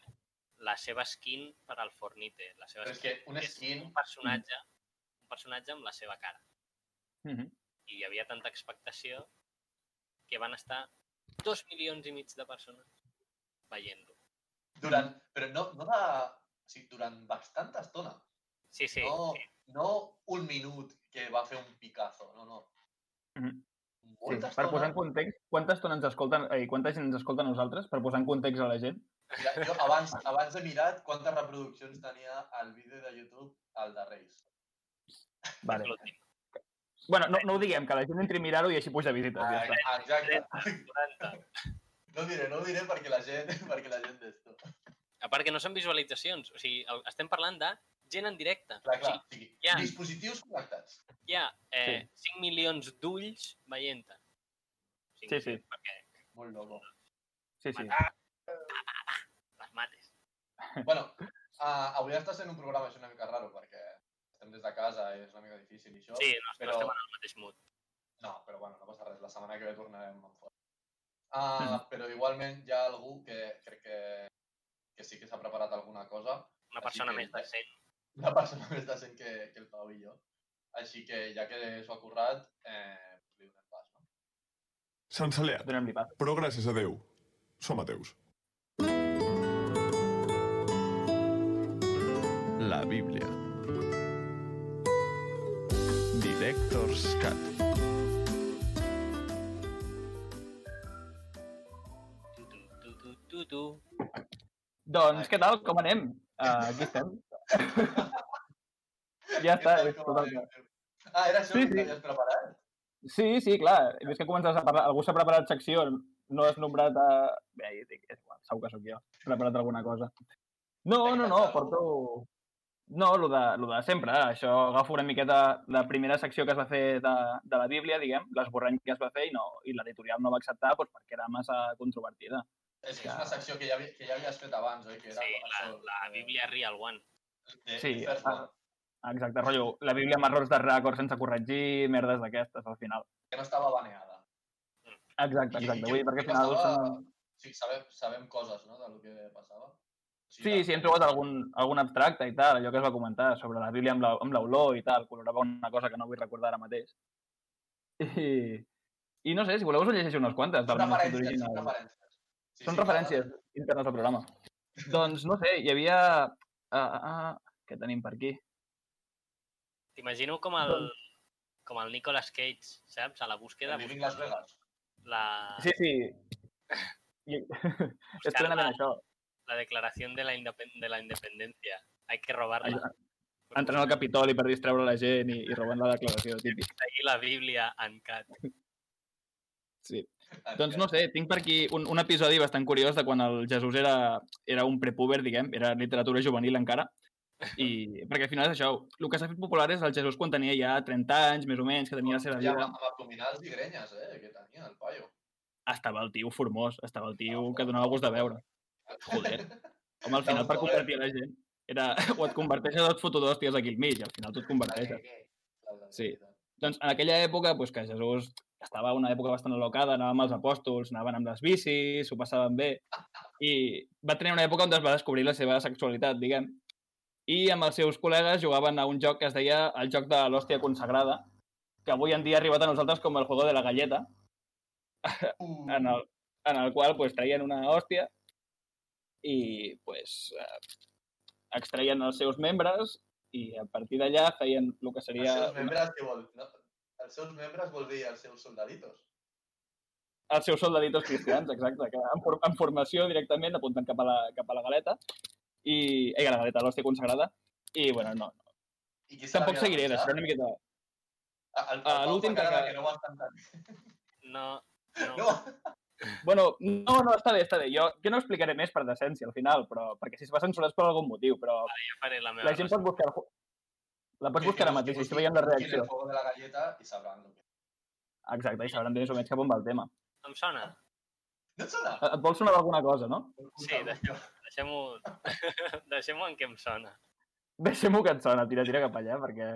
Speaker 4: la seva skin per al Fornite. La seva
Speaker 3: Però és que un
Speaker 4: és
Speaker 3: skin...
Speaker 4: un personatge, un personatge amb la seva cara.
Speaker 5: Mm -hmm.
Speaker 4: i hi havia tanta expectació que van estar dos milions i mig de persones veient-lo.
Speaker 3: Durant, però no, no de... O sigui, durant bastanta estona.
Speaker 4: Sí, sí,
Speaker 3: no,
Speaker 4: sí,
Speaker 3: no un minut que va fer un Picasso, no, no.
Speaker 5: Mhm. Sí,
Speaker 3: Molta
Speaker 5: per
Speaker 3: estona.
Speaker 5: posar en context, quanta estona ens escolten, eh, quanta gent ens escolta a nosaltres, per posar en context a la gent?
Speaker 3: Mira, jo abans, abans he mirat quantes reproduccions tenia el vídeo de YouTube al de Reis.
Speaker 4: és
Speaker 5: Vale.
Speaker 4: l'últim.
Speaker 5: Bueno, no, no ho diguem, que la gent entri a mirar-ho i així puja visites. Ja
Speaker 3: Ah,
Speaker 5: està.
Speaker 3: exacte.
Speaker 4: 40.
Speaker 3: No ho diré, no ho diré perquè la gent, [laughs] perquè la gent d'esto.
Speaker 4: A part que no són visualitzacions, o sigui, el- estem parlant de gent en directe.
Speaker 3: Clar, clar.
Speaker 4: O
Speaker 3: O sigui,
Speaker 4: ja.
Speaker 3: Dispositius connectats.
Speaker 4: sigui, hi ha eh, 5 milions d'ulls veient-te. Cinc
Speaker 5: Sí, sí.
Speaker 4: milions, Perquè
Speaker 3: Molt loco.
Speaker 5: Sí, sí.
Speaker 3: Ah.
Speaker 4: les mates.
Speaker 3: Bueno, uh, avui està sent un programa això una mica raro perquè estem des de casa i és una mica difícil i això.
Speaker 4: Sí, no,
Speaker 3: però-
Speaker 4: no estem en el mateix mood.
Speaker 3: No, però bueno, no passa res, la setmana que ve tornarem amb fort.
Speaker 5: Mm.
Speaker 3: Ah, però igualment hi ha algú que crec que, que sí que s'ha preparat alguna cosa.
Speaker 4: Una
Speaker 3: Així
Speaker 4: persona
Speaker 3: que-
Speaker 4: més decent.
Speaker 3: Una persona més decent que, que el Pau i jo. Així que ja que s'ho ha currat, eh, li donem pas, no?
Speaker 1: Sant Saliat,
Speaker 5: Donem-li pas.
Speaker 1: però gràcies a Déu, som ateus.
Speaker 7: la Biblia. Director's Cut.
Speaker 4: Tu, tu, tu, tu, tu, tu.
Speaker 5: Doncs
Speaker 3: Ah,
Speaker 5: què tal? Com anem? Uh, aquí
Speaker 3: [laughs]
Speaker 5: estem. ja està.
Speaker 3: Què tal,
Speaker 5: és
Speaker 3: com
Speaker 5: tot el
Speaker 3: anem?
Speaker 5: que-
Speaker 3: Ah, era això
Speaker 5: Sí,
Speaker 3: sí,
Speaker 5: sí.
Speaker 3: que t'havies preparat?
Speaker 5: Sí, sí, clar. És que comences a parlar... Algú s'ha preparat secció, no has nombrat a... Bé, ja dic, és igual, segur que sóc jo. He preparat alguna cosa. No, no, no, porto... No, el de, lo de sempre. Això agafo una miqueta la primera secció que es va fer de, de la Bíblia, diguem, l'esborrany que es va fer i, no, i l'editorial no va acceptar doncs, perquè era massa controvertida.
Speaker 3: És que és una secció que ja, havi- que ja havies fet abans, oi? Que era
Speaker 4: Sí, la,
Speaker 3: això,
Speaker 4: la
Speaker 3: eh,
Speaker 4: Bíblia Real One.
Speaker 3: de-
Speaker 5: Sí,
Speaker 3: de First
Speaker 5: ah.
Speaker 3: One,
Speaker 5: Exacte, rotllo, la Bíblia amb errors de record sense corregir, merdes d'aquestes al final.
Speaker 3: que no estava baneada.
Speaker 5: Exacte,
Speaker 3: I- i
Speaker 5: exacte.
Speaker 3: què-
Speaker 5: Vull dir, perquè
Speaker 3: què
Speaker 5: al final...
Speaker 3: passava?
Speaker 5: Són...
Speaker 3: Sí, sabem, sabem coses, no?, del que passava. O sigui,
Speaker 5: Sí,
Speaker 3: la-
Speaker 5: sí, hem trobat algun, algun abstracte i tal, allò que es va comentar sobre la Bíblia amb la- amb l'olor i tal, colorava una cosa que no vull recordar ara mateix. I, i no sé, si voleu us en llegeixo unes quantes del
Speaker 3: Són
Speaker 5: manuscrit
Speaker 3: referències,
Speaker 5: original.
Speaker 3: són referències. Sí,
Speaker 5: Són
Speaker 3: sí,
Speaker 5: referències internes al programa. doncs, no sé, hi havia... Ah, ah, ah, què tenim per aquí?
Speaker 4: T'imagino com el,
Speaker 5: Doncs-
Speaker 4: com el Nicolas Cage, saps? A la búsqueda,
Speaker 3: clar, Living Las Vegas.
Speaker 4: la,
Speaker 5: Sí, sí. I... [laughs] És
Speaker 4: buscant
Speaker 5: plenament
Speaker 4: la,
Speaker 5: això.
Speaker 4: la declaració de la, indepen- de la independencia. Hay que robarla.
Speaker 5: Entrant al Capitoli per distreure la gent i, i robant la declaració, típic.
Speaker 4: Ahí la Bíblia en cat.
Speaker 5: Doncs no sé, tinc per aquí un, un episodi bastant curiós de quan el Jesús era, era un prepúber, diguem, era literatura juvenil encara, i perquè al final és això, el que s'ha fet popular és el Jesús quan tenia ja 30 anys, més o menys, que tenia la seva
Speaker 3: Hòstia,
Speaker 5: vida.
Speaker 3: amb, amb abdominals i grenyes, eh, que tenia el paio.
Speaker 5: Estava el tio formós, estava el tio que donava gust de veure. Joder. Home, al final per
Speaker 3: Joder.
Speaker 5: convertir la gent era, o et converteixes o et foto dos tios aquí al mig, i al final tu et
Speaker 3: [laughs]
Speaker 5: converteixes. Sí. Doncs en aquella època, doncs, que Jesús estava una època bastant alocada, anava amb els apòstols, anaven amb les bicis, s'ho passaven bé, i va tenir una època on es va descobrir la seva sexualitat, diguem. I amb els seus col·legues jugaven a un joc que es deia el joc de l'hòstia consagrada, que avui en dia ha arribat a nosaltres com el juego de la galleta,
Speaker 3: Uh,
Speaker 5: en el, en el qual pues, traien una hòstia i pues, eh, extraien els seus membres i a partir d'allà feien el que
Speaker 3: els
Speaker 5: seria...
Speaker 3: seus membres, què vol? No? Els seus membres vol dir els seus soldaditos.
Speaker 5: els seus soldaditos cristians, exacte, que en, for en formació directament apunten cap a la, cap a la galeta, i, ei, a la galeta, a l'hòstia consagrada, i, bueno, no, no.
Speaker 3: I qui se
Speaker 5: tampoc
Speaker 3: l'havia de
Speaker 5: seguiré,
Speaker 3: menjar?
Speaker 5: deixaré una miqueta...
Speaker 3: Ah, El, el,
Speaker 5: Ah,
Speaker 3: Pau
Speaker 5: l'últim
Speaker 3: fa cara
Speaker 5: que-
Speaker 3: de que... no ho has tancat.
Speaker 4: No, no.
Speaker 3: No,
Speaker 5: Bueno, no, no, està bé, està bé, jo, jo no explicaré més per decència al final, però, perquè si es va censurar és per algun motiu, però
Speaker 4: jo faré la meva.
Speaker 5: la gent pot buscar... el ju- Pues La pots buscar ara mateix, i així veiem la reacció.
Speaker 3: El fuego de la galleta i sabran el que...
Speaker 5: Exacte, i sabran més o menys cap on va el tema.
Speaker 4: Em sona?
Speaker 3: No et sona?
Speaker 5: Et vol sonar alguna cosa, no?
Speaker 4: Sí, de-
Speaker 5: [laughs]
Speaker 4: deixem-ho [laughs] deixem en què em sona. Ah,
Speaker 5: Deixem-ho que et sona, tira, tira cap allà, perquè,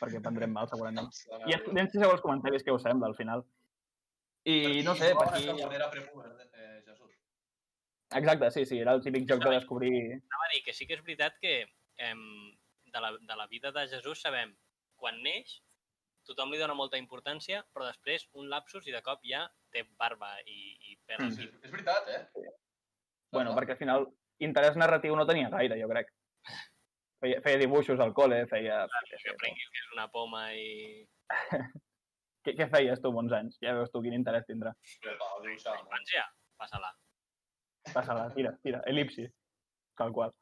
Speaker 5: perquè prendrem mal, segurament. I anem si els comentaris què us sembla, al final.
Speaker 3: Doncs
Speaker 5: I no sé, per aquí...
Speaker 3: Era prepuber, eh, Jesús.
Speaker 5: Exacte, sí, sí, era el típic joc de descobrir...
Speaker 4: Anava a dir que sí que és veritat que em, de, la, de la vida de Jesús sabem quan neix, tothom li dona molta importància, però després un lapsus i de cop ja té barba i, i perd
Speaker 5: Mm-hmm.
Speaker 3: Sí, és veritat, eh?
Speaker 5: Bueno,
Speaker 3: Ah,
Speaker 5: perquè al final interès narratiu no tenia gaire, jo crec. Feia, feia dibuixos al col·le, feia...
Speaker 4: que prenguis que és una poma i...
Speaker 5: Què, què feies tu, bons anys? Ja veus tu quin interès tindrà.
Speaker 3: el Pau dibuixava molt.
Speaker 4: Infància, passa-la.
Speaker 5: Passa-la, tira, tira, elipsi, tal qual.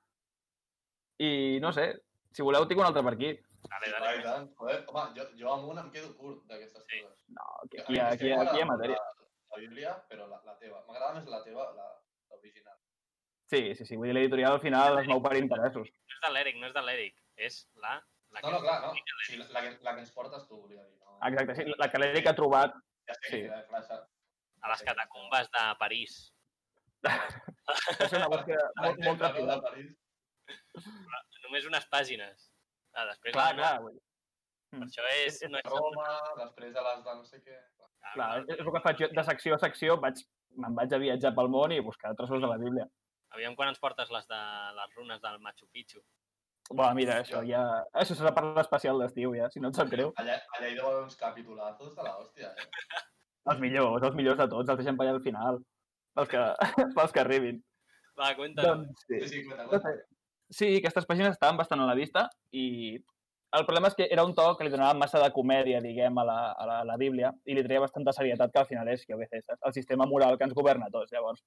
Speaker 5: I no sé, si voleu tinc un altre per aquí.
Speaker 4: Dale,
Speaker 3: Ah, i
Speaker 4: dale.
Speaker 3: tant. Joder, home, jo, jo amb un em quedo curt d'aquestes
Speaker 4: Sí.
Speaker 3: coses.
Speaker 5: Aquí, aquí, aquí, hi ha- aquí hi ha matèria.
Speaker 3: La, la Bíblia, però la, la teva. M'agrada més la teva, la, l'original.
Speaker 5: Sí, sí, sí, vull dir, l'editorial al final es mou per interessos.
Speaker 4: No és de l'Eric, no és de l'Eric. És la... la
Speaker 3: No, no, clar, no. Sí, la, la, que, la que ens portes tu, volia dir. No?
Speaker 5: Exacte, sí, la que l'Eric ha trobat...
Speaker 3: Ja sé, sí.
Speaker 5: sí.
Speaker 3: Clar, clar,
Speaker 4: A les catacumbes de París.
Speaker 5: Va ser una búsqueda molt, molt ràpida.
Speaker 4: Només unes pàgines. Ah, després...
Speaker 5: Clar, clar, vull dir,
Speaker 4: Per això és... No és
Speaker 3: Roma, després de les de no sé què.
Speaker 5: clar, és el que faig jo, de secció a secció vaig me'n vaig a viatjar pel món i buscar trossos de la Bíblia.
Speaker 4: Aviam quan ens portes les de les runes del Machu Picchu.
Speaker 5: Bueno, mira, això ja... Això serà part especial d'estiu, ja, si no et sap greu.
Speaker 3: Allà, allà hi deu haver uns capitulazos de l'hòstia, eh?
Speaker 5: Els millors, els millors de tots, els deixem per allà al final, pels que, [laughs] pels que arribin.
Speaker 4: Va, compte.
Speaker 5: Doncs sí.
Speaker 3: Sí, sí, cuenta,
Speaker 5: No
Speaker 3: cuenta.
Speaker 5: sé, Sí, aquestes pàgines estaven bastant a la vista i el problema és que era un to que li donava massa de comèdia, diguem, a la, a la, a la Bíblia i li treia bastanta serietat que al final és, que a vegades, és el sistema moral que ens governa a tots, llavors.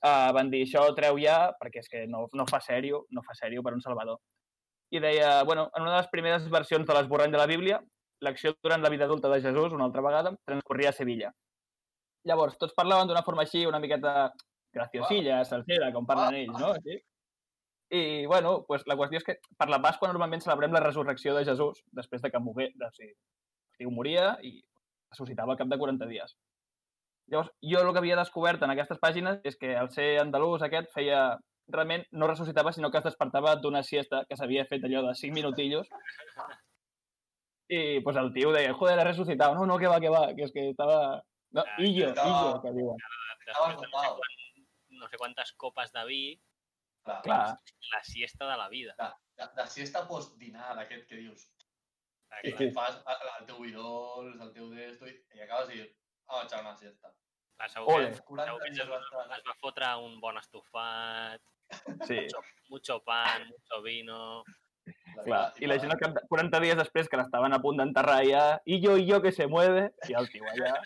Speaker 5: Uh, van dir, això ho treu ja, perquè és que no, no fa sèrio, no fa sèrio per un salvador. I deia, bueno, en una de les primeres versions de l'esborrany de la Bíblia, l'acció durant la vida adulta de Jesús, una altra vegada, transcorria a Sevilla. Llavors, tots parlaven d'una forma així, una miqueta graciosilla, wow. salsera, com parlen wow. ells, no? Així. I, bueno, pues, la qüestió és que per la Pasqua normalment celebrem la resurrecció de Jesús després de que mogué, de, o sigui, o moria i ressuscitava al cap de 40 dies. Llavors, jo el que havia descobert en aquestes pàgines és que el ser andalús aquest feia realment no ressuscitava, sinó que es despertava d'una siesta que s'havia fet allò de 5 minutillos. I pues, el tio deia, joder, ha ressuscitat. No, no, que va, que va, que és que estava... No,
Speaker 4: Ja,
Speaker 5: Illo,
Speaker 3: estava-
Speaker 5: Illo, Ah, que diuen.
Speaker 4: Després de no sé,
Speaker 3: agotado.
Speaker 4: quan, no sé quantes copes de vi,
Speaker 3: Clar,
Speaker 5: Clar,
Speaker 4: la siesta de la vida.
Speaker 3: De, de siesta post-dinar, d'aquest que dius.
Speaker 4: Clar,
Speaker 3: Que
Speaker 4: clar.
Speaker 3: sí. fas eh, el teu idol, el teu d'esto, i, i acabes i a menjar una siesta.
Speaker 4: Clar, segur
Speaker 5: Ole.
Speaker 4: que, segur
Speaker 3: 40
Speaker 4: que
Speaker 3: dies
Speaker 4: Jesús es
Speaker 3: d'entrada.
Speaker 4: va fotre un bon estofat,
Speaker 5: sí.
Speaker 4: mucho pan, mucho vino...
Speaker 5: Clar. I la gent al cap de 40 dies després que l'estaven a punt d'enterrar ja, i jo, i jo, que se mueve, i el tio allà...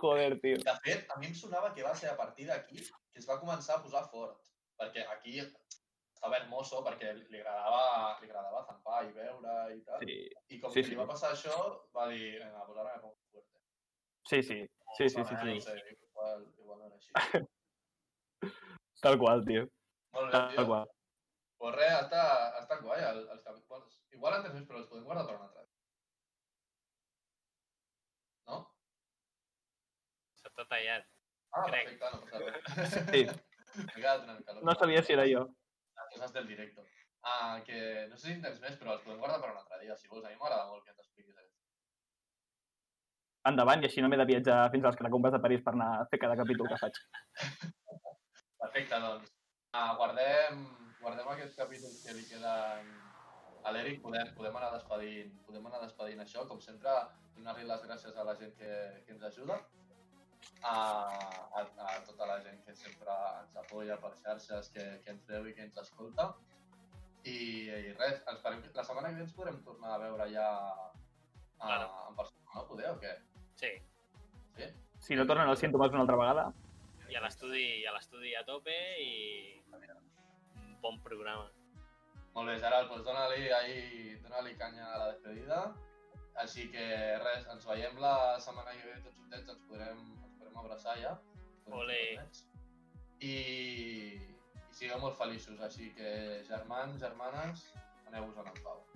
Speaker 5: Joder, tio.
Speaker 3: De fet, a mi em sonava que va ser a partir d'aquí que es va començar a posar fort. Perquè aquí estava hermoso, perquè li agradava, li agradava zampar i veure i tal.
Speaker 5: Sí,
Speaker 3: I com
Speaker 5: sí,
Speaker 3: que
Speaker 5: sí.
Speaker 3: li va passar això, va dir, venga, pues ara me pongo fuerte.
Speaker 5: sí, sí, sí, sí, sí, sí.
Speaker 3: No sé, igual, igual no era
Speaker 5: [laughs]
Speaker 3: així.
Speaker 5: Tal qual, tio.
Speaker 3: Molt bé,
Speaker 5: Tal
Speaker 3: tio.
Speaker 5: qual.
Speaker 3: Pues res, està, està guai el, els capítols. Igual en tens més, però els podem guardar per una altra. No?
Speaker 4: S'ha tot tallat.
Speaker 3: Ah,
Speaker 4: Crec.
Speaker 3: perfecte, no
Speaker 5: [laughs]
Speaker 3: passa res.
Speaker 5: Sí.
Speaker 3: [laughs] M'he quedat una mica loco.
Speaker 5: No sabia si era jo.
Speaker 3: Les coses del directe. Ah, que no sé si en tens més, però els podem guardar per un altre dia, si vols. A mi m'agrada molt que ens expliquis. eh?
Speaker 5: Endavant, i així no m'he de viatjar fins a les catacombes de París per anar a fer cada capítol que faig.
Speaker 3: Perfecte, doncs. Ah, guardem, guardem aquest capítol que li queda a l'Eric. Podem, podem, anar despedint, podem anar despedint això. Com sempre, donar-li les gràcies a la gent que, que ens ajuda. A, a, a tota la gent que sempre ens apoya per xarxes, que, que ens veu i que ens escolta. I, i res, esperem que la setmana que ve ens podrem tornar a veure ja a,
Speaker 4: Claro.
Speaker 3: en persona, no? Poder o què?
Speaker 4: Sí,
Speaker 3: Sí?
Speaker 5: Si no tornen els símptomes una altra vegada,
Speaker 4: i a l'estudi i a l'estudi a tope i un bon programa.
Speaker 3: Molt bé, Gerard, doncs dona-li ahí, dona-li canya a la despedida. Així que res, ens veiem la setmana que ve tots juntets, ens podrem, ens podrem abraçar ja. Podem
Speaker 4: Ole.
Speaker 3: fer tots nets. I, I sigueu molt feliços, així que germans, germanes, aneu-vos en pau.